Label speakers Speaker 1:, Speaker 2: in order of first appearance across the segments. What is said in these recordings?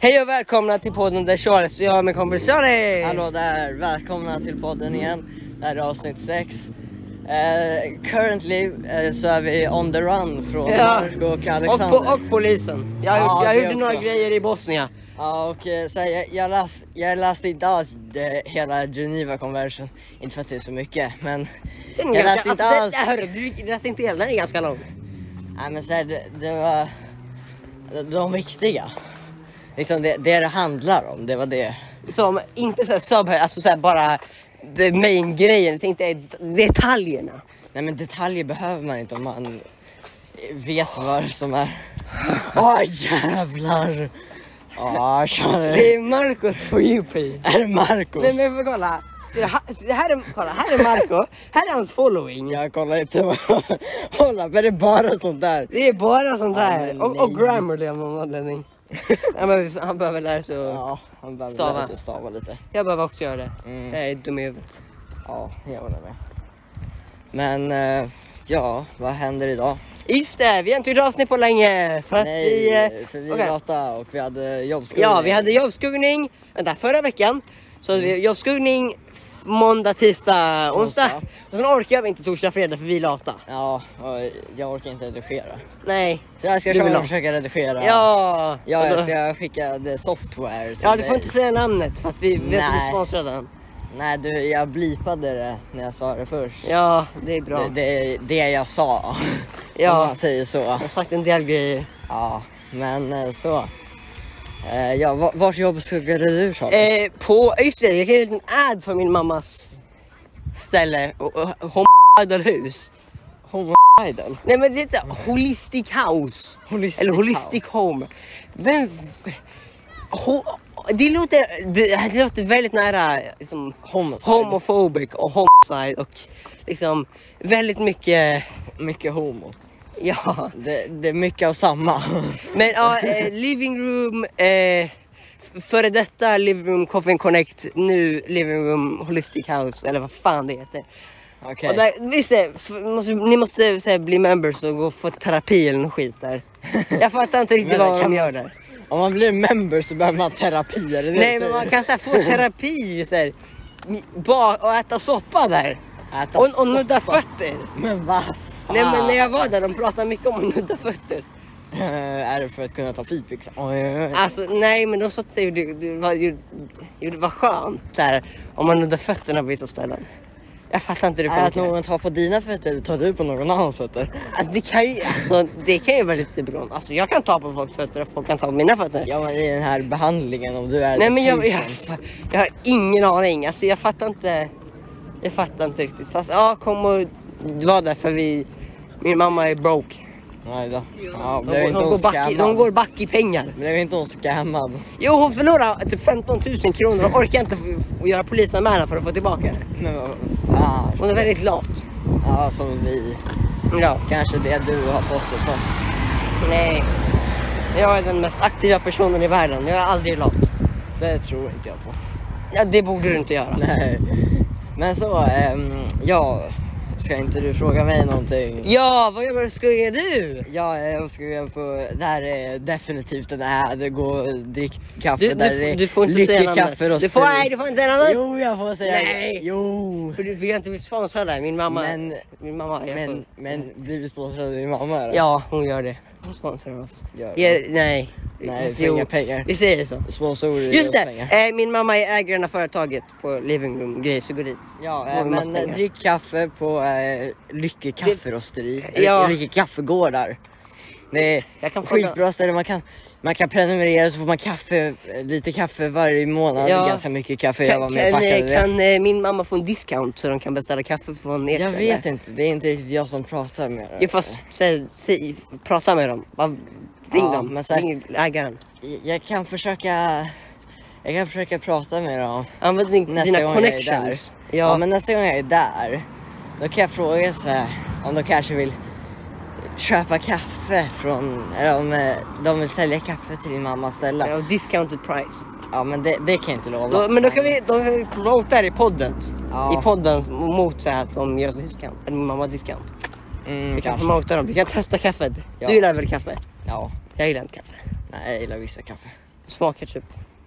Speaker 1: Hej och välkomna till podden där Suarez och jag är min kompis Charlie!
Speaker 2: Hallå där, välkomna till podden igen. Det här är avsnitt 6. Eh, currently eh, så är vi on the run från
Speaker 1: Ja.
Speaker 2: Marco och
Speaker 1: Och,
Speaker 2: Alexander.
Speaker 1: po- och polisen. Jag,
Speaker 2: Ja,
Speaker 1: jag
Speaker 2: det
Speaker 1: gjorde några
Speaker 2: också.
Speaker 1: grejer i Bosnien.
Speaker 2: Ja, och eh, så här, jag, jag, läs, jag läste idag det, hela Geneva Convention. Inte för att det är så mycket, men
Speaker 1: Den är
Speaker 2: jag
Speaker 1: ganska-
Speaker 2: läste inte
Speaker 1: alltså,
Speaker 2: alls.
Speaker 1: Den, hörru, du gick- läste inte hela, den är ganska lång.
Speaker 2: Nej men så här, det, det var de- de viktiga. Liksom det, det det handlar om, det var det.
Speaker 1: Som inte såhär subhead, alltså såhär bara the main grejen, inte det- detaljerna.
Speaker 2: Nej men detaljer behöver man inte om man vet vad som är.
Speaker 1: Åh jävlar!
Speaker 2: Ja, kör.
Speaker 1: Det är Marcos for you page.
Speaker 2: Är det Marcos?
Speaker 1: Nej men kolla. Det här, det här är, kolla, här är Marco, här är hans following.
Speaker 2: Jag kollar inte vad Hålla, men det är bara sånt där.
Speaker 1: Det är bara sånt
Speaker 2: Ja,
Speaker 1: här.
Speaker 2: men
Speaker 1: Och, och
Speaker 2: nej.
Speaker 1: Grammarly av någon anledning. Nej, men vi- han behöver lära sig att...
Speaker 2: Ja, han behöver
Speaker 1: Stava.
Speaker 2: lära sig stava lite.
Speaker 1: Jag behöver också göra det.
Speaker 2: Mm.
Speaker 1: Jag är dum i huvudet.
Speaker 2: Ja, jag håller med. Men eh, ja, vad händer idag?
Speaker 1: Just det, vi har inte gjort avsnitt på länge. För att vi...
Speaker 2: Nej,
Speaker 1: eh,
Speaker 2: för vi
Speaker 1: okej.
Speaker 2: pratade och vi hade jobbskolning.
Speaker 1: Ja, vi hade jobbskuggning vänta, förra veckan. Så hade vi jobbskuggning f- måndag, tisdag, onsdag.
Speaker 2: Mm. Onsdag.
Speaker 1: Och sen orkar vi inte torsdag, fredag för vi är lata.
Speaker 2: Ja, och jag orkar inte redigera.
Speaker 1: Nej.
Speaker 2: Så jag ska
Speaker 1: Du vill
Speaker 2: köra
Speaker 1: ha.
Speaker 2: och försöka redigera.
Speaker 1: Ja.
Speaker 2: Ja, alltså,
Speaker 1: Och då-
Speaker 2: jag ska skicka det software till
Speaker 1: ja, du får
Speaker 2: dig.
Speaker 1: inte säga namnet fast vi vet att vi är
Speaker 2: Nej.
Speaker 1: sponsrade. av den.
Speaker 2: Nej du, jag blipade det när jag sa det först.
Speaker 1: Ja, det är bra.
Speaker 2: Det, det, det jag sa.
Speaker 1: Ja.
Speaker 2: Om man säger så.
Speaker 1: Jag har sagt en del grejer.
Speaker 2: Ja, men eh, så. Eh, ja, va- vars jobb skuggade du Charlie?
Speaker 1: Eh, på, just det, jag kan göra en liten ad för min mammas ställe. Och- och- Hon idol hus.
Speaker 2: Homo idol.
Speaker 1: Nej men det är lite holistic house.
Speaker 2: Holistic
Speaker 1: Eller holistic home. Vem... Ho, det, låter, det, det låter väldigt nära liksom,
Speaker 2: Homicide.
Speaker 1: homophobic och homicide och liksom väldigt mycket,
Speaker 2: Mycket homo.
Speaker 1: ja.
Speaker 2: Det, det är mycket av samma.
Speaker 1: Men ja, eh, living room, eh, f- före detta living room coffin connect, nu living room holistic house eller vad fan det heter.
Speaker 2: Okej.
Speaker 1: Och där, just det, f- måste, ni måste så här, bli members och gå och få terapi eller något skit där. Jag fattar inte riktigt
Speaker 2: Men det
Speaker 1: vad de
Speaker 2: kan
Speaker 1: gör
Speaker 2: man-
Speaker 1: där.
Speaker 2: Om man blir member så behöver man terapi, är det det
Speaker 1: Nej
Speaker 2: du
Speaker 1: men
Speaker 2: säger?
Speaker 1: man kan så här, få terapi så här, mi- ba- och äta soppa där.
Speaker 2: Äta
Speaker 1: Och, och
Speaker 2: soppa. Ah.
Speaker 1: nudda fötter.
Speaker 2: Men vad
Speaker 1: Nej men när jag var där de pratade mycket om att nudda fötter.
Speaker 2: Är det för att kunna ta feedback? Oj, oj, oj.
Speaker 1: Alltså nej men de sa till sig hur det, det, var, ju- hur det var skönt så här, om man nuddar fötterna på vissa ställen. Jag fattar inte hur det
Speaker 2: Är det att
Speaker 1: funkar.
Speaker 2: Äh, någon tar på dina fötter eller tar du på någon annans fötter?
Speaker 1: Alltså, det, kan ju, alltså, det kan ju vara lite beroende. Alltså, jag kan ta på folks fötter och folk kan ta på mina fötter.
Speaker 2: Ja men i den här behandlingen om du är
Speaker 1: nej men jag, jag,
Speaker 2: patient.
Speaker 1: jag har ingen aning. Alltså, jag fattar inte. Jag fattar inte riktigt. Fast ja, kom och var där för vi... Min mamma är broke.
Speaker 2: Nej då. Ja,
Speaker 1: De,
Speaker 2: blev
Speaker 1: går,
Speaker 2: inte
Speaker 1: de,
Speaker 2: alltså.
Speaker 1: går
Speaker 2: hon
Speaker 1: back, i- de
Speaker 2: scammad?
Speaker 1: går back i pengar.
Speaker 2: Blev inte hon scammad?
Speaker 1: Jo, hon förlorade typ 15 000 kronor och orkar inte f- f- göra polisanmälan för att få tillbaka det.
Speaker 2: Men vad fan.
Speaker 1: Hon är väldigt lat.
Speaker 2: Ja, som vi.
Speaker 1: Ja.
Speaker 2: Kanske det du har fått det från.
Speaker 1: Nej. Jag är den mest aktiva personen i världen. Jag är aldrig lat.
Speaker 2: Det tror inte jag på.
Speaker 1: Ja, det borde du inte göra.
Speaker 2: Nej. Men så, ehm, ja. Ska inte du fråga mig någonting?
Speaker 1: Ja, vad gör skuggar du?
Speaker 2: Ja, jag ska gå på, det här är definitivt en ad. Gå och drick kaffe
Speaker 1: Du,
Speaker 2: där
Speaker 1: du,
Speaker 2: det är
Speaker 1: du får inte säga namnet.
Speaker 2: lyckekaffe och
Speaker 1: Du får,
Speaker 2: strut.
Speaker 1: nej, du får inte säga namnet.
Speaker 2: Jo, jag får säga
Speaker 1: Nej.
Speaker 2: det. Jo.
Speaker 1: För du vill inte bli sponsrad där. Min mamma.
Speaker 2: Men-
Speaker 1: min mamma är
Speaker 2: Men, men blir vi sponsrade av din mamma eller?
Speaker 1: Ja, hon gör det. Hon sponsrar oss.
Speaker 2: Gör hon?
Speaker 1: Ger, nej.
Speaker 2: Nej,
Speaker 1: Fast
Speaker 2: för inga pengar.
Speaker 1: Vi säger så.
Speaker 2: Sponsorer ger
Speaker 1: Just
Speaker 2: oss pengar.
Speaker 1: det, eh, min mamma är ägaren av företaget på Living Room Grej, så gå dit.
Speaker 2: Ja,
Speaker 1: Får
Speaker 2: eh,
Speaker 1: vi massa
Speaker 2: men eh,
Speaker 1: pengar.
Speaker 2: drick kaffe på eh, Lycke kafferosteri.
Speaker 1: Ja.
Speaker 2: Ja. Lycke kaffegårdar. Det är
Speaker 1: Jag kan fråga-
Speaker 2: skitbra ställe. Man kan, man kan prenumerera så får man kaffe, eh, lite kaffe varje månad.
Speaker 1: Ja.
Speaker 2: Ganska mycket kaffe. jag var
Speaker 1: Kan,
Speaker 2: med
Speaker 1: kan,
Speaker 2: och packade
Speaker 1: eh,
Speaker 2: det.
Speaker 1: kan eh, min mamma få en discount så de kan beställa kaffe från er
Speaker 2: Jag
Speaker 1: ställe?
Speaker 2: vet inte. Det är inte riktigt jag som pratar med
Speaker 1: Jag får s- säg, säg, prata med dem. Bara ring
Speaker 2: Ja,
Speaker 1: dem.
Speaker 2: men så här-
Speaker 1: Ring ägaren.
Speaker 2: Jag kan försöka... Jag kan försöka prata med dem.
Speaker 1: Använd din,
Speaker 2: Nästa
Speaker 1: dina
Speaker 2: gång
Speaker 1: connections.
Speaker 2: jag är där. Ja. men nästa gång jag är där. Då kan jag fråga så här, om de kanske vill köpa kaffe från, eller om eh, de vill sälja kaffe till din mammas ställe.
Speaker 1: Ja, discounted price.
Speaker 2: Ja men det, det kan jag inte lova.
Speaker 1: Då, men då kan vi, då kan vi promota det i podden.
Speaker 2: Ja.
Speaker 1: I podden mot så här att de gör discount. Eller min mamma har discount.
Speaker 2: Mm,
Speaker 1: Vi kan
Speaker 2: kanske.
Speaker 1: promota dem. Vi kan testa kaffet.
Speaker 2: Ja.
Speaker 1: Du gillar väl kaffe?
Speaker 2: Ja.
Speaker 1: Jag gillar inte kaffe.
Speaker 2: Nej jag gillar vissa kaffe.
Speaker 1: Smakar typ...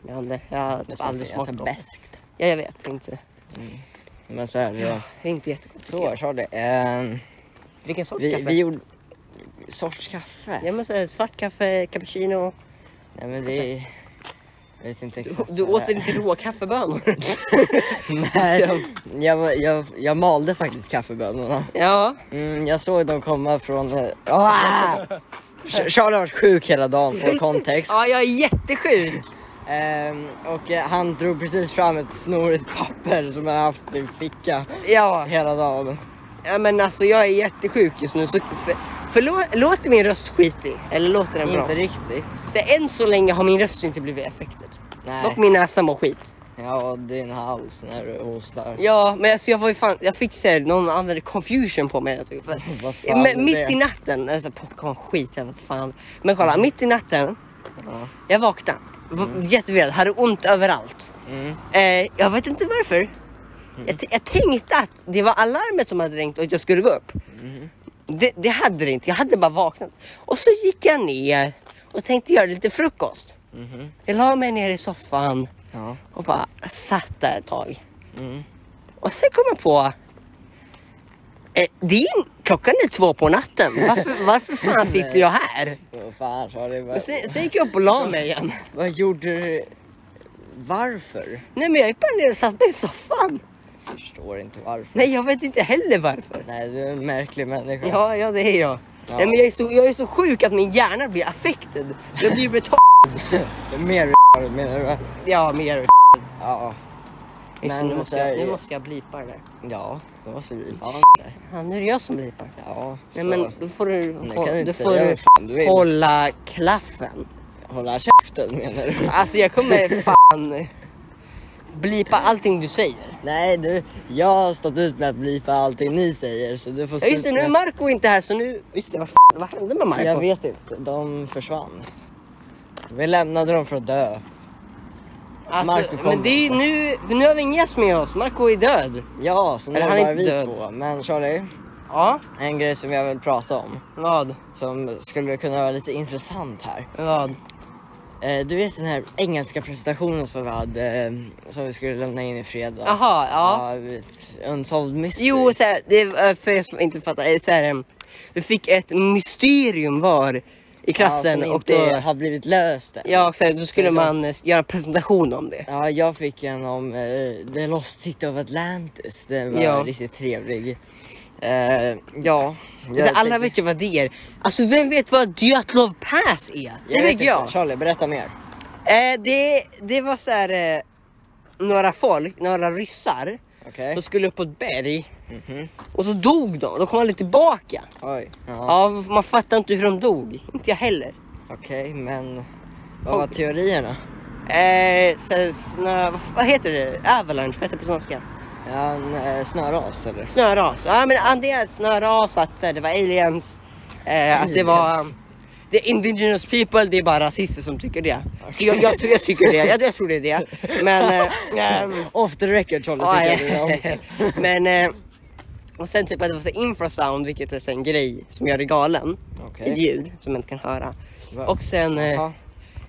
Speaker 1: Jag har aldrig, jag har typ aldrig
Speaker 2: alltså
Speaker 1: smakat dem.
Speaker 2: beskt.
Speaker 1: Ja, jag vet inte.
Speaker 2: Men så här, ja.
Speaker 1: Det är inte jättegott. tycker
Speaker 2: Så,
Speaker 1: jag.
Speaker 2: Charlie. ehm,
Speaker 1: Vilken sorts
Speaker 2: vi,
Speaker 1: kaffe?
Speaker 2: vi gjorde... Sorts kaffe?
Speaker 1: Ja men så här, svart kaffe, cappuccino.
Speaker 2: Nej men det är... Jag vet inte
Speaker 1: Du,
Speaker 2: exakt.
Speaker 1: du
Speaker 2: vad det
Speaker 1: åt
Speaker 2: är.
Speaker 1: väl inte råa kaffebönor?
Speaker 2: Nej, jag, jag, jag malde faktiskt kaffebönorna.
Speaker 1: ja.
Speaker 2: Mm, jag såg dem komma från... eh, Ah! Ch- Charlie har varit sjuk hela dagen, för kontext.
Speaker 1: Ja, jag är jättesjuk.
Speaker 2: Ehm, och eh, han drog precis fram ett snorigt papper som han haft i sin ficka
Speaker 1: Ja.
Speaker 2: hela dagen.
Speaker 1: Ja men alltså jag är jättesjuk just nu så för, förlåt, låter min röst skitig eller låter den bra?
Speaker 2: Inte riktigt.
Speaker 1: Så än så länge har min röst inte blivit affected.
Speaker 2: Nej.
Speaker 1: Dock min näsa mår skit.
Speaker 2: Ja, din hals när du hostar.
Speaker 1: Ja men alltså jag var ju fan, jag fick se någon använde confusion på mig. Jag tycker, för,
Speaker 2: Vad fan är
Speaker 1: men, mitt
Speaker 2: det?
Speaker 1: i natten, alltså Pokémon skit jag vet fan. Men kolla, mitt i natten,
Speaker 2: Mm. Ja.
Speaker 1: jag vaknade, mm. jätteväl, hade ont överallt.
Speaker 2: Mm.
Speaker 1: Eh, jag vet inte varför. Jag, t- jag tänkte att det var alarmet som hade ringt och att jag skulle gå upp.
Speaker 2: Mm.
Speaker 1: Det, det hade det inte. Jag hade bara vaknat. Och så gick jag ner och tänkte göra lite frukost.
Speaker 2: Mhm.
Speaker 1: Jag la mig ner i soffan
Speaker 2: Ja.
Speaker 1: och bara satt där ett tag.
Speaker 2: Mm.
Speaker 1: Och sen kom jag på. Eh, det är, klockan är två på natten. Varför, varför fan sitter jag här?
Speaker 2: Vad fan Charlie,
Speaker 1: Och
Speaker 2: vad,
Speaker 1: sen, sen gick jag upp och la mig igen.
Speaker 2: vad gjorde du? Varför?
Speaker 1: Nej men jag gick bara ner och satt mig i soffan.
Speaker 2: Förstår inte varför.
Speaker 1: Nej jag vet inte heller varför.
Speaker 2: Nej, du är en märklig människa.
Speaker 1: Ja, ja det är jag.
Speaker 2: Ja.
Speaker 1: Nej, men jag, är så, jag är så sjuk att min hjärna blir affected. Jag blir betald.
Speaker 2: Det är Mer menar du? va?
Speaker 1: Ja, mer.
Speaker 2: Ja.
Speaker 1: Men, nu,
Speaker 2: Men
Speaker 1: måste
Speaker 2: så
Speaker 1: jag, nu
Speaker 2: är
Speaker 1: måste jag blipa det där.
Speaker 2: Ja, det måste vi fan det.
Speaker 1: Ja, nu är det jag som blipar.
Speaker 2: Ja,
Speaker 1: Nej
Speaker 2: så.
Speaker 1: men då får du,
Speaker 2: kan
Speaker 1: hå-
Speaker 2: du
Speaker 1: du
Speaker 2: inte
Speaker 1: får
Speaker 2: säga
Speaker 1: du
Speaker 2: vad fan du vill.
Speaker 1: hålla klaffen.
Speaker 2: Hålla käften menar du?
Speaker 1: Alltså jag kommer fan blipa allting du säger.
Speaker 2: Nej du, jag har stått ut med att blipa allting ni säger så du får
Speaker 1: Ja,
Speaker 2: stå
Speaker 1: just det,
Speaker 2: ut
Speaker 1: nu är
Speaker 2: med-
Speaker 1: Marco inte här så nu... Just det, vad, fan, vad hände med Marco?
Speaker 2: Jag vet inte, de försvann. Vi lämnade dem för att dö.
Speaker 1: alltså,
Speaker 2: Marco kom
Speaker 1: men det är ju
Speaker 2: inte.
Speaker 1: nu, för nu har vi en gäst med oss. Marco är död.
Speaker 2: Ja, så nu
Speaker 1: Eller
Speaker 2: är
Speaker 1: han
Speaker 2: det
Speaker 1: är
Speaker 2: bara
Speaker 1: inte
Speaker 2: vi
Speaker 1: död.
Speaker 2: två. Men Charlie,
Speaker 1: Ja,
Speaker 2: en grej som jag vill prata om
Speaker 1: vad?
Speaker 2: som skulle kunna vara lite intressant här.
Speaker 1: Vad?
Speaker 2: Eh, du vet den här engelska presentationen som vi hade eh, som vi skulle lämna in i fredags?
Speaker 1: Jaha, ja.
Speaker 2: ja Unsolved mysteries.
Speaker 1: Jo, så här, det var för er som inte fattar. eh, Så här, em, vi fick ett mysterium var i klassen
Speaker 2: ja, som
Speaker 1: och
Speaker 2: inte
Speaker 1: det,
Speaker 2: har blivit löst än.
Speaker 1: ja, så här, då skulle
Speaker 2: Det är så.
Speaker 1: man eh, göra en presentation om det.
Speaker 2: Ja, jag fick en om eh, The Lost City of Atlantis. Den var
Speaker 1: Ja.
Speaker 2: riktigt trevlig. Eh, ja.
Speaker 1: Så här, Alltså, alla
Speaker 2: tänker-
Speaker 1: vet ju vad det är. Alltså vem vet vad Dyatlov Pass är? Det vet
Speaker 2: inte.
Speaker 1: jag.
Speaker 2: Charlie, berätta mer.
Speaker 1: Eh, det, det var så här, eh, några folk, några ryssar,
Speaker 2: Okej.
Speaker 1: som skulle upp på ett berg
Speaker 2: Mhm.
Speaker 1: och så dog de. Då kom aldrig tillbaka.
Speaker 2: Oj. Ja.
Speaker 1: Ja, man fattar inte hur de dog. Inte jag heller.
Speaker 2: Okej, men vad var teorierna?
Speaker 1: Eh, så, här, snö, vad, vad heter det? Avalanche, vad heter det på svenska?
Speaker 2: Ja, en eh, snöras eller?
Speaker 1: Snöras. Ja men antingen snöras, att så här, det var aliens, eh, att det var
Speaker 2: Aliens.
Speaker 1: det är indigenous people, det är bara rasister som tycker det. Så jag, jag, tror- jag tycker det, jag, jag tror det är det. Men, eh, ehm,
Speaker 2: Off the record Charlie,
Speaker 1: ja,
Speaker 2: tycker jag det
Speaker 1: eh,
Speaker 2: är.
Speaker 1: men eh, och sen typ att det var så här infrasound, vilket är så här en grej som gör det galen.
Speaker 2: Okej.
Speaker 1: Ljud som man inte kan höra.
Speaker 2: Va-
Speaker 1: Och sen eh,
Speaker 2: Jaha.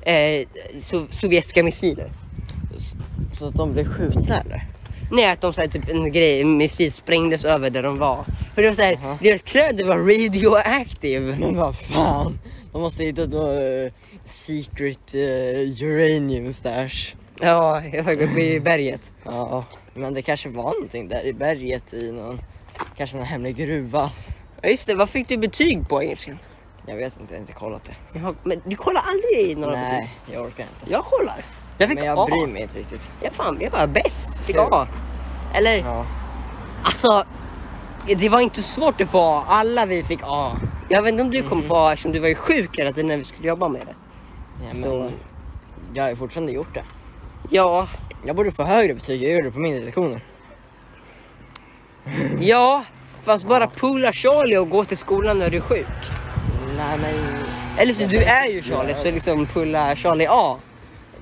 Speaker 1: eh, so- sovjetiska missiler.
Speaker 2: Så att de blev skjutna eller?
Speaker 1: Nej att de såhär, typ en grej, en missil sprängdes över där de var. För det var såhär,
Speaker 2: Aha.
Speaker 1: deras kläder var radioactive.
Speaker 2: Men vad fan, de måste ha hittat några eh, secret eh, uranium stash.
Speaker 1: Ja, jag såg uppe i berget.
Speaker 2: Ja, men det kanske var någonting där i berget i någon, kanske någon hemlig gruva.
Speaker 1: Ja just det, vad fick du betyg på engelskan?
Speaker 2: Jag vet inte, jag har inte kollat det.
Speaker 1: Jaha, men du kollar aldrig i några betyg?
Speaker 2: Nej, jag orkar inte.
Speaker 1: Jag kollar. Jag fick
Speaker 2: Men
Speaker 1: A.
Speaker 2: jag bryr mig inte riktigt.
Speaker 1: Ja, fan, jag var bäst. Fick
Speaker 2: Kul.
Speaker 1: A. Eller,
Speaker 2: Ja.
Speaker 1: alltså. Det var inte svårt att få A. Alla vi fick A. Jag vet inte om du
Speaker 2: Mhm.
Speaker 1: kommer få A eftersom du var ju sjuk hela tiden när vi skulle jobba med det.
Speaker 2: Ja, men
Speaker 1: Så-
Speaker 2: Jag har ju fortfarande gjort det.
Speaker 1: Ja,
Speaker 2: Jag borde få högre betyg, jag gjorde det på mindre lektioner.
Speaker 1: ja. Fast bara poola Charlie och gå till skolan när du är sjuk.
Speaker 2: Nej men,
Speaker 1: Eller så du är ju Charlie, så liksom pulla Charlie A.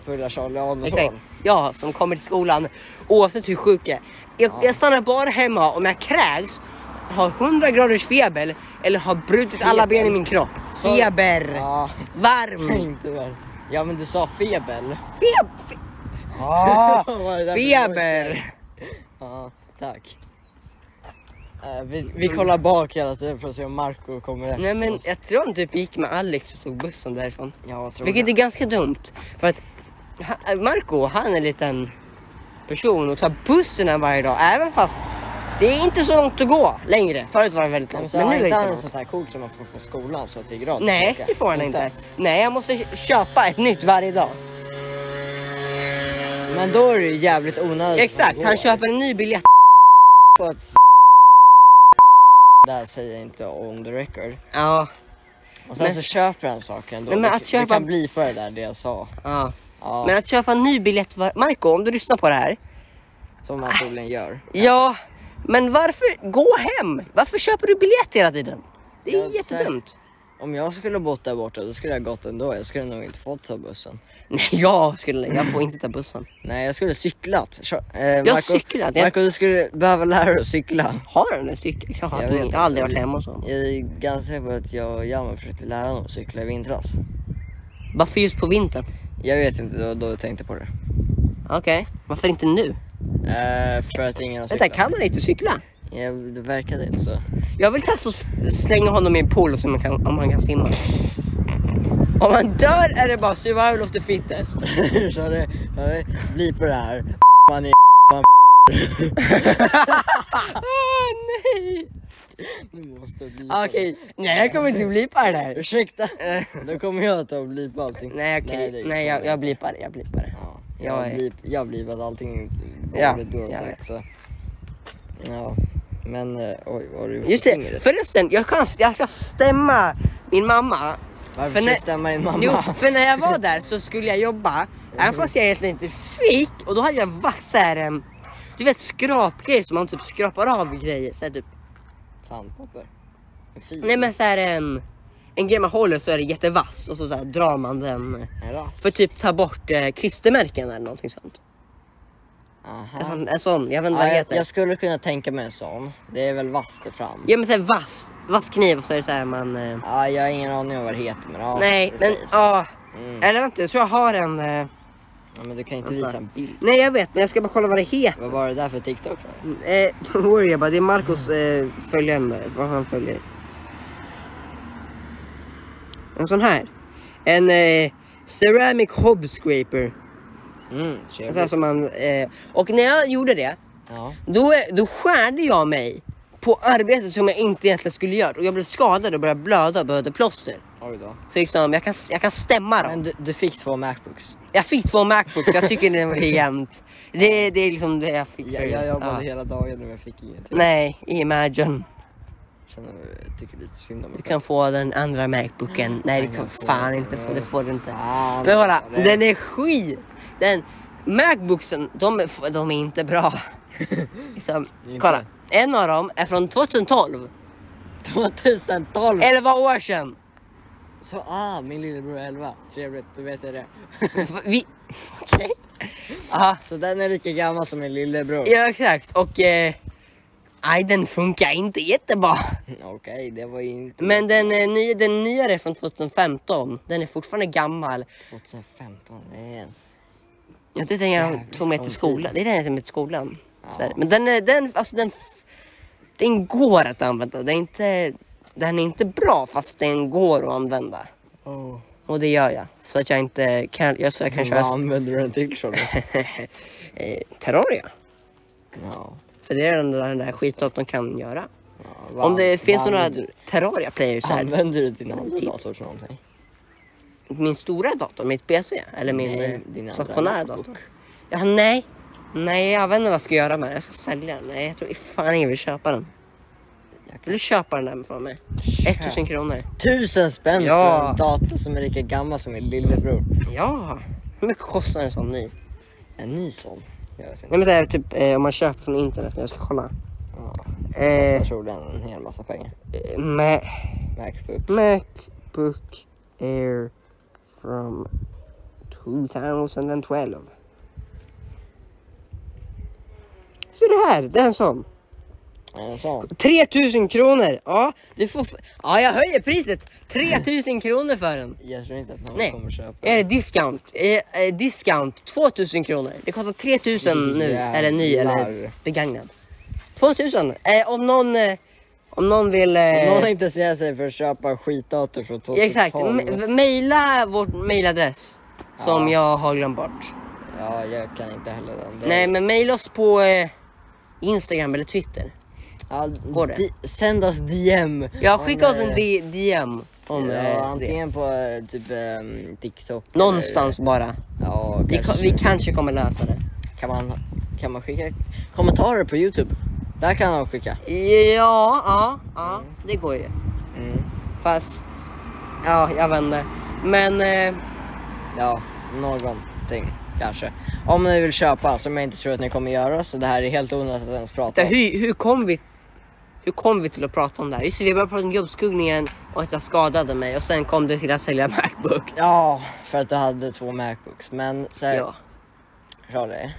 Speaker 2: pulla Charlie Adolfsson.
Speaker 1: Exakt. Ja, som kommer till skolan oavsett hur sjuk jag är. Jag, jag stannar bara hemma om jag kräks, har 100 graders feber eller har brutit alla ben i min kropp.
Speaker 2: Så-
Speaker 1: Feber! Mm.
Speaker 2: Ja,
Speaker 1: Varm!
Speaker 2: inte väl. Ja men du sa feber.
Speaker 1: Feb... fe-
Speaker 2: Vad är det där för
Speaker 1: feber!
Speaker 2: Ja, tack. Eh, vi, vi kollar bak hela tiden för att se om Marco kommer efter
Speaker 1: Mm. Nej men
Speaker 2: oss.
Speaker 1: jag tror han typ gick med Alex och tog bussen därifrån.
Speaker 2: Ja, tror
Speaker 1: Vilket
Speaker 2: det.
Speaker 1: är ganska dumt. För att ha- Marco, han är en liten person och tar bussen här varje dag. Även fast det är inte så långt att gå längre. Förut var det väldigt
Speaker 2: Men
Speaker 1: långt.
Speaker 2: så
Speaker 1: Men nu
Speaker 2: har
Speaker 1: är det
Speaker 2: inte
Speaker 1: inte
Speaker 2: han ett
Speaker 1: långt.
Speaker 2: sånt här kort som man får från skolan så att det är gratis?
Speaker 1: Nej, det får han inte. Nej, jag måste köpa ett nytt varje dag.
Speaker 2: Men då är det ju jävligt onödigt.
Speaker 1: Mm. Exakt,
Speaker 2: att
Speaker 1: han
Speaker 2: gå.
Speaker 1: köper en ny biljett.
Speaker 2: på ett s- Där säger jag inte on the record.
Speaker 1: Ja,
Speaker 2: Och sen
Speaker 1: Men-
Speaker 2: så köper han saker ändå.
Speaker 1: Nej, men
Speaker 2: Du-
Speaker 1: att köpa-
Speaker 2: Du kan bli på det där det jag sa.
Speaker 1: ja.
Speaker 2: Ja,
Speaker 1: Men att köpa en ny biljett, var- Marco om du lyssnar på det här.
Speaker 2: Som
Speaker 1: Ah.
Speaker 2: man troligen gör.
Speaker 1: Ja, men varför gå hem? Varför köper du biljett hela tiden? Det är
Speaker 2: Jag
Speaker 1: jättedumt.
Speaker 2: Om jag skulle bott där borta då skulle jag gått ändå. Jag skulle nog inte fått ta bussen.
Speaker 1: Nej, jag skulle, jag får inte ta bussen.
Speaker 2: Nej jag skulle cyklat. Kör, eh,
Speaker 1: Jag cyklat, jag-
Speaker 2: Marco du skulle behöva lära dig att cykla.
Speaker 1: Har han en cykel? Jag har,
Speaker 2: Jag
Speaker 1: jag
Speaker 2: vet
Speaker 1: jag
Speaker 2: inte.
Speaker 1: har aldrig varit hemma hos honom.
Speaker 2: Jag är ganska säker på att jag och Hjalmar försökte lära honom att cykla i vintras.
Speaker 1: Varför just på vintern?
Speaker 2: Jag vet inte då, då jag tänkte på det.
Speaker 1: Okej, varför inte nu?
Speaker 2: Eh, för att ingen har
Speaker 1: Vänta,
Speaker 2: cyklat.
Speaker 1: kan han inte cykla?
Speaker 2: Ja, det verkade inte så.
Speaker 1: Jag vill testa att s- slänga honom i en pool och se om han kan, om han kan simma. Om han dör är det bara survival of the fittest.
Speaker 2: så det, så det blir på det här. Man är man
Speaker 1: Åh nej!
Speaker 2: Du måste bli på
Speaker 1: Okej, nej jag kommer inte blipa det
Speaker 2: det.
Speaker 1: här.
Speaker 2: Ursäkta. Då kommer jag att ta och bli på allting.
Speaker 1: Nej, okej.
Speaker 2: det-
Speaker 1: nej jag, jag blipar det, jag blipar det.
Speaker 2: Ja,
Speaker 1: jag
Speaker 2: jag,
Speaker 1: är-
Speaker 2: blir, jag blir på att allting
Speaker 1: Ja,
Speaker 2: ja, du har
Speaker 1: jag
Speaker 2: sagt så. Ja, men eh, oj, vad har du gjort
Speaker 1: Just
Speaker 2: på
Speaker 1: det,
Speaker 2: fingret?
Speaker 1: förresten jag, kan, jag ska stämma min mamma.
Speaker 2: Varför
Speaker 1: för
Speaker 2: ska
Speaker 1: när-
Speaker 2: du stämma din mamma?
Speaker 1: Jo, för när jag var där så skulle jag jobba, även fast jag egentligen inte fick. Och då hade jag varit såhär, em, du vet skrapgrejer som man typ skrapar av grejer. Så här, typ.
Speaker 2: Sandpapper? En fin.
Speaker 1: Nej men såhär en, en grej man håller så är det jättevass och så, så här, drar man den.
Speaker 2: En rast?
Speaker 1: För typ ta bort eh, klistermärken eller någonting sånt.
Speaker 2: Aha.
Speaker 1: En sån, en sån jag vet inte vad
Speaker 2: ja,
Speaker 1: det alltså,
Speaker 2: jag,
Speaker 1: heter.
Speaker 2: jag skulle kunna tänka mig en sån. Det är väl vass där fram?
Speaker 1: Ja men såhär vass, vass kniv och så är det såhär man... Eh,
Speaker 2: Ja, jag har ingen aning om vad det heter men ja.
Speaker 1: nej
Speaker 2: det
Speaker 1: men
Speaker 2: sägs.
Speaker 1: ja.
Speaker 2: Mm.
Speaker 1: Eller vänta jag tror jag har en... Eh,
Speaker 2: Ja, men du kan inte
Speaker 1: Vänta.
Speaker 2: visa en bild.
Speaker 1: nej jag vet men jag ska bara kolla vad det heter.
Speaker 2: Vad var det där för TikTok? då?
Speaker 1: Eh, don't worry about det är Marcos eh, följande, vad han följer. En sån här. En eh, ceramic hob scraper.
Speaker 2: Mm,
Speaker 1: En
Speaker 2: trevligt.
Speaker 1: sån här som man, eh, och när jag gjorde det,
Speaker 2: Ja.
Speaker 1: då, är- då skärde jag mig på arbetet som jag inte egentligen skulle göra. Och jag blev skadad och började blöda och behövde plåster.
Speaker 2: Oj då.
Speaker 1: Så liksom, jag kan, jag kan stämma dem.
Speaker 2: Men du, du fick två Macbooks.
Speaker 1: Jag fick två Macbooks, jag tycker det var jämnt. Det, det är liksom det jag fick. för-
Speaker 2: Jag, jag jobbade
Speaker 1: ja.
Speaker 2: hela dagen och jag fick ingenting.
Speaker 1: Nej, imagine.
Speaker 2: Känner, jag tycker lite synd om mig
Speaker 1: Du kan få den andra Macbooken. Nej, det kan fan inte få. Det får du inte.
Speaker 2: Fan,
Speaker 1: Men kolla,
Speaker 2: vad det-
Speaker 1: den är skit. Den Macbooksen, de, är- de är inte bra. Liksom,
Speaker 2: Inte?
Speaker 1: kolla, en av dem är från 2012.
Speaker 2: själv. 2012!
Speaker 1: 11 år sedan.
Speaker 2: Så ah, min lillebror är 11. Trevligt, då vet jag det.
Speaker 1: Vi... Okej. Ja,
Speaker 2: Så den är lika gammal som min lillebror.
Speaker 1: Ja, exakt. Och... Eh, nej, den funkar inte jättebra.
Speaker 2: Mm, Okej, det var ju inte
Speaker 1: Men den, eh, ny, den nyare är från 2015. Den är fortfarande gammal.
Speaker 2: 2015. Det är en...
Speaker 1: Ja, det är den jag
Speaker 2: Jävligt
Speaker 1: tog med till
Speaker 2: lång
Speaker 1: skolan. Det är den jag tog med till skolan.
Speaker 2: Ja.
Speaker 1: Så här. Men den, är- den, alltså den, f- den går att använda. Den är, inte, den är inte bra fast den går att använda.
Speaker 2: Oh.
Speaker 1: Och det gör jag. Så att jag inte kan, jag, så jag kan köra
Speaker 2: Vad
Speaker 1: s-
Speaker 2: använder du den till Charlie?
Speaker 1: eh, Terraria.
Speaker 2: ja.
Speaker 1: För det är den där, den där skitdatorn de kan göra.
Speaker 2: ja, vad-
Speaker 1: Om det finns
Speaker 2: vad
Speaker 1: några
Speaker 2: använder
Speaker 1: Terraria players
Speaker 2: du-
Speaker 1: här.
Speaker 2: Använder du din andra
Speaker 1: Typ.
Speaker 2: dator till någonting?
Speaker 1: Min stora dator, mitt PC. Eller min
Speaker 2: Nej,
Speaker 1: eh,
Speaker 2: din andra
Speaker 1: stationära
Speaker 2: MacBook.
Speaker 1: dator. Ja, nej. Nej, jag vet inte vad jag ska göra med den. Jag ska sälja den. Nej, jag tror fan ingen vill köpa den.
Speaker 2: Jag kan-
Speaker 1: Vill du köpa den där från mig? 1000 kronor.
Speaker 2: Tusen spänn
Speaker 1: Ja.
Speaker 2: för en dator som är lika gammal som min lillebror.
Speaker 1: Ja. Hur mycket kostar en sån ny?
Speaker 2: En ny sån. Jag vet inte.
Speaker 1: Nej men det är typ eh, om man köper från internet. Jag ska kolla.
Speaker 2: Ja.
Speaker 1: Eh,
Speaker 2: Kostar troligen en hel massa pengar.
Speaker 1: Ma-
Speaker 2: Macbook.
Speaker 1: Macbook Air from 2012. Ser du här? Det är en sån.
Speaker 2: Eller sånt.
Speaker 1: 3000 kronor! Ja, du får... f- ja, jag höjer priset! 3000 kronor för den.
Speaker 2: Jag tror inte att någon
Speaker 1: Nej.
Speaker 2: kommer köpa.
Speaker 1: Eh, discount. Eh, eh, discount 2000 kronor. Det kostar 3000 nu. Är den ny eller
Speaker 2: Jävlar.
Speaker 1: begagnad? 2000! Eh, om någon... Eh, om någon vill...
Speaker 2: Om
Speaker 1: Eh,
Speaker 2: Någon typ intresserar sig för att köpa skitdator från 2012.
Speaker 1: exakt. M- mejla vår mejladress. Som jag har glömt bort.
Speaker 2: Ja, jag kan inte heller den. Det-
Speaker 1: Nej, men mejla oss på eh, Instagram eller Twitter.
Speaker 2: ja,
Speaker 1: går det?
Speaker 2: di- Sänd oss DM.
Speaker 1: Ja, skicka
Speaker 2: om,
Speaker 1: oss en
Speaker 2: eh,
Speaker 1: D- DM om
Speaker 2: Ja,
Speaker 1: eh, det.
Speaker 2: antingen på eh, typ ehm, TikTok. eller-
Speaker 1: Någonstans bara.
Speaker 2: Ja,
Speaker 1: Vi, ko-
Speaker 2: kanske.
Speaker 1: vi kanske kommer lösa det.
Speaker 2: Kan, man, kan man skicka kommentarer på YouTube? Där kan man skicka.
Speaker 1: Ja, ja, ja, det går ju.
Speaker 2: Mm.
Speaker 1: Fast, ja, jag vet inte. Men, eh,
Speaker 2: Ja, någonting kanske. Om ni vill köpa, som jag inte tror att ni kommer göra, så det här är helt onödigt att ens prata
Speaker 1: det-
Speaker 2: om.
Speaker 1: hur, hur kom vi? Hur kom vi till att prata om det här? Just det, vi började prata om jobbskuggningen och att jag skadade mig och sen kom det till att sälja Macbook.
Speaker 2: Ja, för att du hade två Macbooks. Men så här,
Speaker 1: Ja.
Speaker 2: Charlie.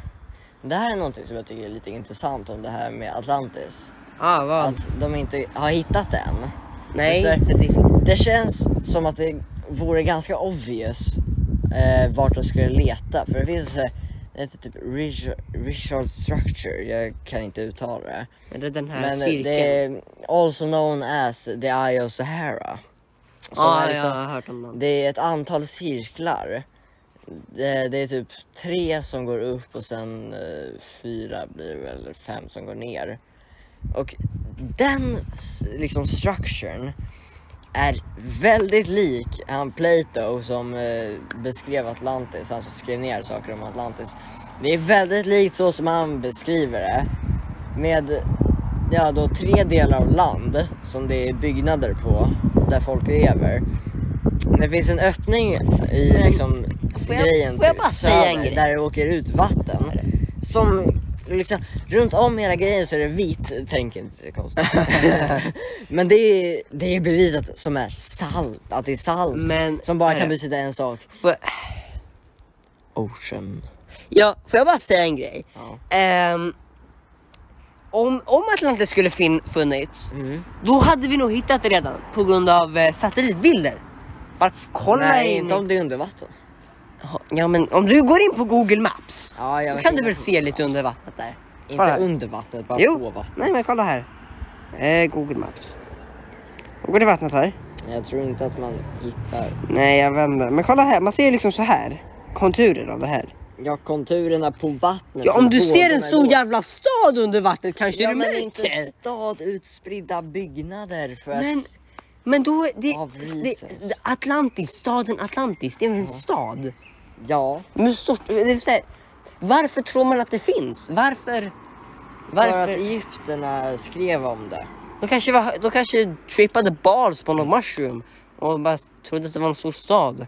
Speaker 2: Det här är någonting som jag tycker är lite intressant om det här med Atlantis.
Speaker 1: Ah, vad?
Speaker 2: Att de inte har hittat den.
Speaker 1: Nej,
Speaker 2: så här-
Speaker 1: för det finns...
Speaker 2: Det känns som att det vore ganska obvious eh, vart de skulle leta. För det finns så här, det heter typ Richard, Richard Structure, jag kan inte uttala det.
Speaker 1: Är det den här
Speaker 2: Men eh,
Speaker 1: cirkeln?
Speaker 2: det är also known as the Eye of Sahara. Som
Speaker 1: ah,
Speaker 2: är liksom-
Speaker 1: jag har hört om den.
Speaker 2: det är ett antal cirklar. Det, det är typ tre som går upp och sen eh, fyra blir det väl, eller fem som går ner. Och den s- liksom structuren är väldigt lik han Plato som eh, beskrev Atlantis, han som skrev ner saker om Atlantis. Det är väldigt likt så som han beskriver det. Med ja, då tre delar av land som det är byggnader på där folk lever. Det finns en öppning i
Speaker 1: Men,
Speaker 2: liksom
Speaker 1: får jag-
Speaker 2: grejen
Speaker 1: får jag
Speaker 2: till
Speaker 1: bara säga en grej?
Speaker 2: där det åker ut vatten. Som liksom, runt om hela grejen så är det vitt, tänk inte det konstigt. Men det är, det är bevisat som är salt, att det är salt.
Speaker 1: Men-
Speaker 2: som bara
Speaker 1: Herre.
Speaker 2: kan betyda en sak.
Speaker 1: Får,
Speaker 2: Ocean.
Speaker 1: ja, får jag bara säga en grej?
Speaker 2: Ja.
Speaker 1: Ehm, om, om Atlantis skulle fin- funnits,
Speaker 2: Mm.
Speaker 1: då hade vi nog hittat det redan på grund av eh, satellitbilder. Bara kolla
Speaker 2: Nej,
Speaker 1: in.
Speaker 2: inte om det är under vatten.
Speaker 1: Ja, men om du går in på Google Maps,
Speaker 2: Ja, jag
Speaker 1: då
Speaker 2: vet
Speaker 1: kan du
Speaker 2: inte.
Speaker 1: väl se lite under vattnet där?
Speaker 2: Inte
Speaker 1: Kolla här.
Speaker 2: under vattnet, bara på
Speaker 1: Jo,
Speaker 2: vattnet.
Speaker 1: nej men kolla här. Eh, Google Maps. Då går det vattnet här.
Speaker 2: Jag tror inte att man hittar.
Speaker 1: Nej, jag vänder. Men kolla här, man ser liksom så här. Konturer av det här.
Speaker 2: Ja, konturerna på vattnet.
Speaker 1: Ja,
Speaker 2: som
Speaker 1: om du ser en
Speaker 2: vågorna
Speaker 1: stor
Speaker 2: går.
Speaker 1: jävla stad under vattnet kanske
Speaker 2: Ja,
Speaker 1: du
Speaker 2: men
Speaker 1: märker.
Speaker 2: inte stad, utspridda byggnader för
Speaker 1: Men,
Speaker 2: att...
Speaker 1: men då, är det,
Speaker 2: Av
Speaker 1: det,
Speaker 2: Reasons.
Speaker 1: det- Atlantis, staden Atlantis, det är en stad.
Speaker 2: Ja.
Speaker 1: Men stort, det vill säga, varför tror man att det finns? Varför?
Speaker 2: För att
Speaker 1: varför?
Speaker 2: egyptierna skrev om det.
Speaker 1: De kanske, var, de kanske trippade balls på något mushroom och bara trodde att det var en stor stad.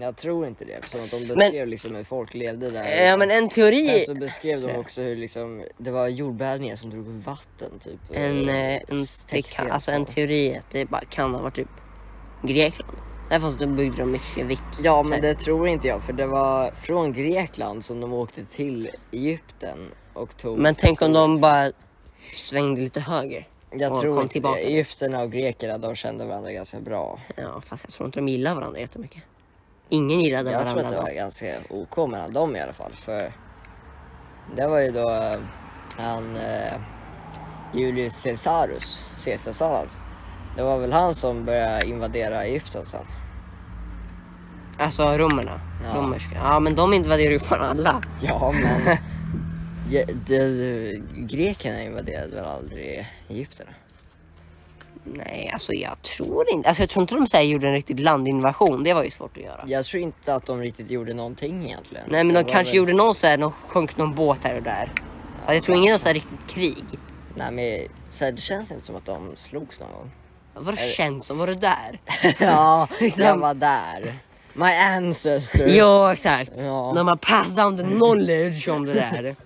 Speaker 2: Jag tror inte det eftersom att de beskrev liksom hur folk levde där.
Speaker 1: Eh, Ja men en teori,
Speaker 2: Sen så beskrev de också hur liksom, det var jordbävningar som drog upp vatten typ.
Speaker 1: en,
Speaker 2: Eh,
Speaker 1: eh, en, det kan,
Speaker 2: täckfel
Speaker 1: alltså
Speaker 2: så.
Speaker 1: en teori att det bara kan ha varit typ Grekland. Därför att de byggde de mycket vitt.
Speaker 2: Ja
Speaker 1: Så här.
Speaker 2: men det tror inte jag för det var från Grekland som de åkte till Egypten och tog...
Speaker 1: men tänk om de bara svängde lite höger.
Speaker 2: Jag
Speaker 1: och
Speaker 2: tror
Speaker 1: kom
Speaker 2: inte
Speaker 1: tillbaka.
Speaker 2: det. Egypterna och grekerna de kände varandra ganska bra.
Speaker 1: Ja, fast jag tror inte de gillar varandra jättemycket. Ingen gillade
Speaker 2: Jag tror
Speaker 1: varandra
Speaker 2: att det
Speaker 1: då.
Speaker 2: var ganska OK mellan dem i alla fall. För det var ju då eh, han eh, Julius Caesarus, Caesarsallad. Det var väl han som började invadera Egypten sen.
Speaker 1: Alltså romerna.
Speaker 2: Ja.
Speaker 1: Romerska. Ja, men de invaderar ju fan alla.
Speaker 2: Ja men ja, det, grekerna invaderade väl aldrig Egypten?
Speaker 1: Nej, alltså jag tror inte. Alltså jag tror inte de så här gjorde en riktig landinvasion. Det var ju svårt att göra.
Speaker 2: Jag tror inte att de riktigt gjorde någonting egentligen.
Speaker 1: Nej, men
Speaker 2: Det
Speaker 1: de
Speaker 2: var
Speaker 1: kanske
Speaker 2: väl-
Speaker 1: gjorde någon så här, de sjönk någon båt här och där. Ja, jag tror ingen så här riktigt krig.
Speaker 2: Nej men så här, det känns inte som att de slogs någon gång.
Speaker 1: Vad känns som? Var du där?
Speaker 2: ja, jag
Speaker 1: Liksom.
Speaker 2: var där. My ancestors.
Speaker 1: ja, exakt.
Speaker 2: Ja.
Speaker 1: När man passed down the knowledge om det där.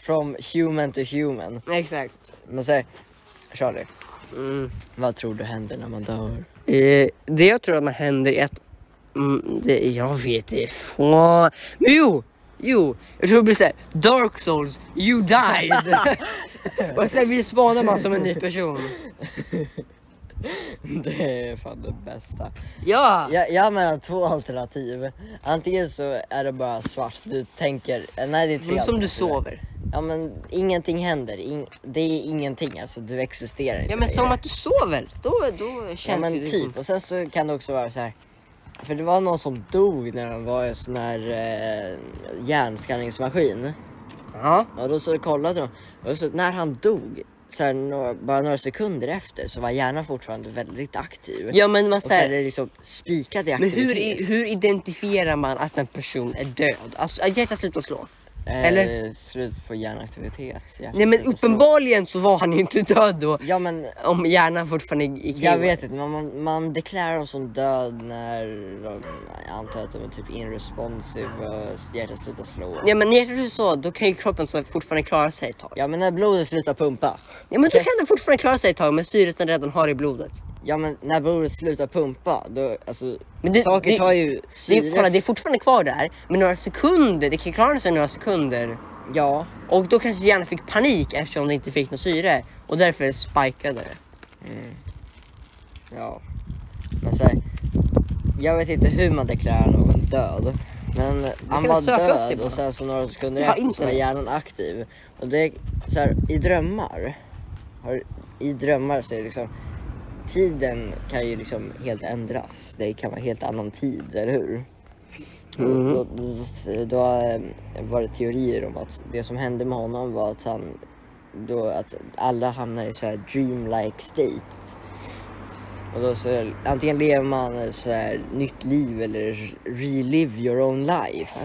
Speaker 2: From human to human.
Speaker 1: exakt.
Speaker 2: Men säg, Charlie,
Speaker 1: Mm.
Speaker 2: vad tror du händer när man dör?
Speaker 1: Eh, det jag tror att man händer är att... Mm, det, jag vet inte. fan. Men jo! Jo, jag tror det blir såhär Dark Souls, you died. och sen respawnar man som en ny person.
Speaker 2: Det är fan det bästa.
Speaker 1: Ja!
Speaker 2: Jag, jag har mellan två alternativ. Antingen så är det bara svart, du tänker... eh, Nej det är tre
Speaker 1: som du
Speaker 2: alternativ.
Speaker 1: sover.
Speaker 2: Ja men ingenting händer, Ing- det är ingenting alltså, du existerar inte
Speaker 1: Ja men
Speaker 2: längre.
Speaker 1: som att du sover. Då, då
Speaker 2: Ja
Speaker 1: känns
Speaker 2: men
Speaker 1: ju det
Speaker 2: typ, och sen så kan det också vara så här. För det var någon som dog när de var i en sån här eh, hjärnskanningsmaskin.
Speaker 1: Ja.
Speaker 2: Och då så kollade de och så när han dog, så här, några, bara några sekunder efter så var hjärnan fortfarande väldigt aktiv.
Speaker 1: ja men man
Speaker 2: och så är
Speaker 1: säger.
Speaker 2: det liksom spikad i
Speaker 1: Men
Speaker 2: aktivitet.
Speaker 1: hur, i- hur identifierar man att en person är död? Alltså att hjärtat slutar slå.
Speaker 2: Eh,
Speaker 1: eller?
Speaker 2: Slut på hjärnaktivitet. hjärtat
Speaker 1: Nej men
Speaker 2: slutar slå.
Speaker 1: uppenbarligen så var han ju inte död då.
Speaker 2: Ja men
Speaker 1: Om hjärnan fortfarande gick
Speaker 2: jag vet inte, men man, man deklarerar dem som död när de, jag antar att de är typ inresponsive och hjärtat slutar slå.
Speaker 1: Ja men hjärtat är så, då kan ju kroppen så fortfarande klara sig ett tag.
Speaker 2: Ja men när blodet slutar pumpa.
Speaker 1: Ja men då kan den fortfarande klara sig ett tag men syret den redan har i blodet.
Speaker 2: Ja men när blodet slutar pumpa, då alltså
Speaker 1: Men det-
Speaker 2: saker
Speaker 1: det-
Speaker 2: tar ju
Speaker 1: Det,
Speaker 2: syre.
Speaker 1: är- kolla det är fortfarande kvar där men några sekunder, det kan ju klara sig några sekunder.
Speaker 2: Ja,
Speaker 1: Och då kanske hjärnan fick panik eftersom det inte fick något syre och därför spikade det.
Speaker 2: ja. Men så här, jag vet inte hur man deklarerar någon död. Men han
Speaker 1: kan
Speaker 2: var
Speaker 1: söka upp det
Speaker 2: död
Speaker 1: bara.
Speaker 2: och sen så några sekunder
Speaker 1: Jag har
Speaker 2: efter så var
Speaker 1: internet.
Speaker 2: hjärnan aktiv. Och det är så här, i drömmar. Har, I drömmar så är det liksom Tiden kan ju liksom helt ändras. Det kan vara helt annan tid, eller hur?
Speaker 1: Mhm.
Speaker 2: Och Då, då, då eh, var det teorier om att det som hände med honom var att han då att alla hamnar i så här dreamlike state. Och då så antingen lever man ett så här nytt liv eller relive your own life.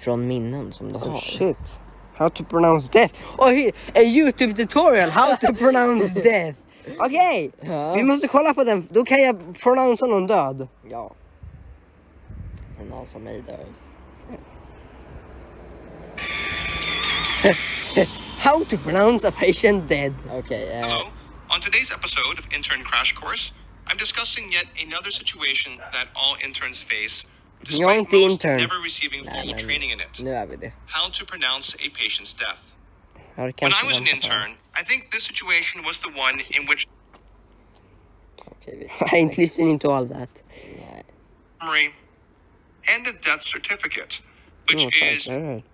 Speaker 2: Från minnen som du har.
Speaker 1: Mm. Oh, shit. How to pronounce death. Oh, he- a YouTube tutorial how to pronounce death. Okej,
Speaker 2: Ja.
Speaker 1: vi måste kolla på den. Då kan jag pronouncera någon död.
Speaker 2: Ja. Men någon som mig död.
Speaker 1: How to pronounce a patient dead.
Speaker 2: Okej, eh,
Speaker 3: Hello. On today's episode of Intern Crash Course, I'm discussing yet another situation that all interns face,
Speaker 1: ain't
Speaker 3: despite
Speaker 1: the
Speaker 3: most
Speaker 1: intern.
Speaker 3: never receiving formal
Speaker 2: man.
Speaker 3: training in it.
Speaker 2: nu är vi det.
Speaker 3: How to pronounce a patient's death.
Speaker 1: Ja, det kan
Speaker 3: When I
Speaker 1: inte
Speaker 3: was an
Speaker 1: vänta på den.
Speaker 3: intern, I think this situation was the one in which
Speaker 2: Okej, vi
Speaker 1: I ain't listening to all that.
Speaker 2: Nej.
Speaker 3: summary and a death certificate, which
Speaker 1: Oh,
Speaker 3: is
Speaker 1: fuck, alright.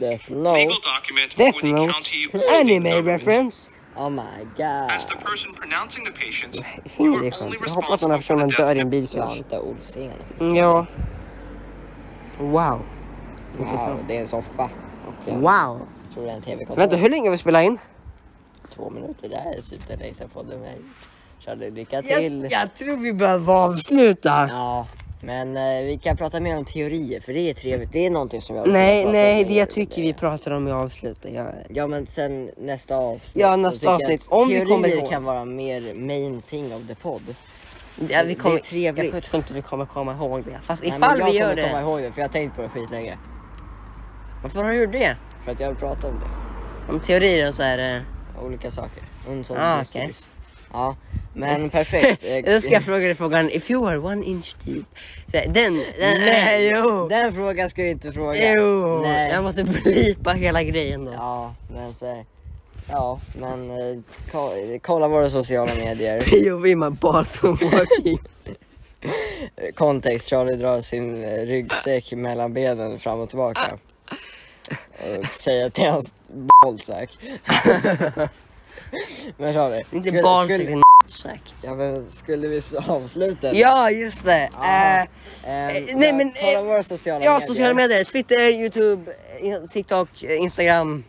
Speaker 2: Death note.
Speaker 3: legal document
Speaker 1: Death
Speaker 3: for the
Speaker 1: Note.
Speaker 3: county or the
Speaker 1: Anime
Speaker 3: government.
Speaker 1: reference.
Speaker 2: Oh my
Speaker 3: As the
Speaker 2: god.
Speaker 3: person pronouncing the patients, you
Speaker 1: Häng
Speaker 3: are
Speaker 1: dig
Speaker 3: only
Speaker 1: skönt. Jag hoppas den här
Speaker 3: responsible for
Speaker 1: personen
Speaker 3: the
Speaker 1: dör i en
Speaker 3: death.
Speaker 1: bilkrasch.
Speaker 2: Svante Olsén.
Speaker 1: Mm, Ja. Wow.
Speaker 2: Wow,
Speaker 1: Intressant.
Speaker 2: det är en soffa. Och en,
Speaker 1: Wow.
Speaker 2: Tror det är en tv-kontroll.
Speaker 1: Vänta, hur länge har vi spelat in?
Speaker 2: Två minuter, det här är typ den längsta podden vi har gjort. Charlie, lycka till.
Speaker 1: tror vi behöver avsluta.
Speaker 2: Ja, men eh, vi kan prata mer om teorier för det är trevligt. Det är någonting som jag
Speaker 1: Nej,
Speaker 2: pratar
Speaker 1: nej,
Speaker 2: om
Speaker 1: det
Speaker 2: i-
Speaker 1: jag tycker vi pratar om i avslutet. Jag...
Speaker 2: Ja men sen nästa avsnitt.
Speaker 1: Ja,
Speaker 2: så
Speaker 1: nästa
Speaker 2: tycker jag
Speaker 1: avsnitt,
Speaker 2: att
Speaker 1: om vi
Speaker 2: teorier
Speaker 1: kommer ihåg.
Speaker 2: kan vara mer main thing of the podd.
Speaker 1: Ja, vi
Speaker 2: Det är
Speaker 1: kommer,
Speaker 2: trevligt.
Speaker 1: Jag tror inte vi kommer komma ihåg det. Fast
Speaker 2: Nej, men
Speaker 1: ifall vi
Speaker 2: Jag
Speaker 1: gör
Speaker 2: kommer komma
Speaker 1: det.
Speaker 2: ihåg det för jag har tänkt på det skitlänge.
Speaker 1: Varför har du gjort det?
Speaker 2: För att jag vill prata om det.
Speaker 1: Om teorier så är det...
Speaker 2: Olika saker. Mm, så
Speaker 1: Ah,
Speaker 2: just det.
Speaker 1: okej.
Speaker 2: Ja, men perfekt. Eh,
Speaker 1: Då ska jag fråga dig frågan, if you were one inch deep. Så här, Den, den,
Speaker 2: Nej,
Speaker 1: jo.
Speaker 2: Eh, den frågan ska du inte fråga.
Speaker 1: Jo,
Speaker 2: Nej.
Speaker 1: jag måste blipa hela grejen då.
Speaker 2: Ja, men så här, Ja, men eh, ko- kolla våra sociala medier.
Speaker 1: POV my bathroom walking.
Speaker 2: Eh, Kontext, Charlie drar sin eh, ryggsäck mellan benen fram och tillbaka. Och säger till hans bollsack. men Charlie.
Speaker 1: Inte
Speaker 2: skulle-
Speaker 1: barnsäck,
Speaker 2: skulle,
Speaker 1: din säck.
Speaker 2: ja, men skulle vi så avsluta? det?
Speaker 1: Ja, just det.
Speaker 2: Jaha.
Speaker 1: Eh,
Speaker 2: Ehm,
Speaker 1: eh,
Speaker 2: ja,
Speaker 1: nej, men, eh,
Speaker 2: Kolla våra sociala
Speaker 1: ja,
Speaker 2: medier.
Speaker 1: sociala medier. Twitter, Youtube, eh, TikTok, eh, Instagram.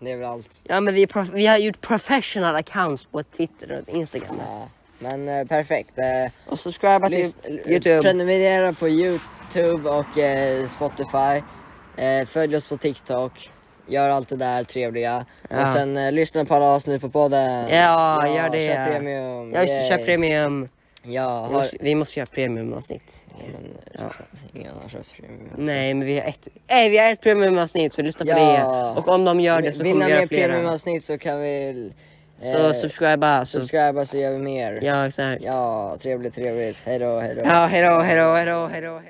Speaker 2: Det är väl allt.
Speaker 1: Ja, men vi, är prof- vi har gjort professional accounts på Twitter och Instagram.
Speaker 2: Ja. Men eh, perfekt. Eh,
Speaker 1: Och subscriba till
Speaker 2: Lyssn-
Speaker 1: Youtube.
Speaker 2: eh, Prenumerera på Youtube och eh, Spotify. Eh, följ oss på TikTok. Gör allt det där trevliga.
Speaker 1: Ja.
Speaker 2: Och sen eh, lyssna på alla avsnitt på podden.
Speaker 1: Ja, gör det.
Speaker 2: Köp premium.
Speaker 1: Ja, just det,
Speaker 2: Yay.
Speaker 1: köp premium.
Speaker 2: Ja,
Speaker 1: Vi
Speaker 2: har...
Speaker 1: måste, vi måste göra premiumavsnitt.
Speaker 2: Men, Ingen har köpt premium. alltså.
Speaker 1: Nej, men vi har ett, nej, vi har ett premiumavsnitt så lyssna på
Speaker 2: Ja.
Speaker 1: det. Och om de gör det så
Speaker 2: Vill ni
Speaker 1: kommer
Speaker 2: ha
Speaker 1: vi
Speaker 2: mer
Speaker 1: göra flera.
Speaker 2: premiumavsnitt så kan vi... eh,
Speaker 1: Så subscriba. Så,
Speaker 2: subscriba så gör vi mer.
Speaker 1: ja, exakt.
Speaker 2: ja trevligt, trevligt. Hejdå, hejdå.
Speaker 1: Ja, hejdå, hejdå, hejdå, hejdå. hejdå.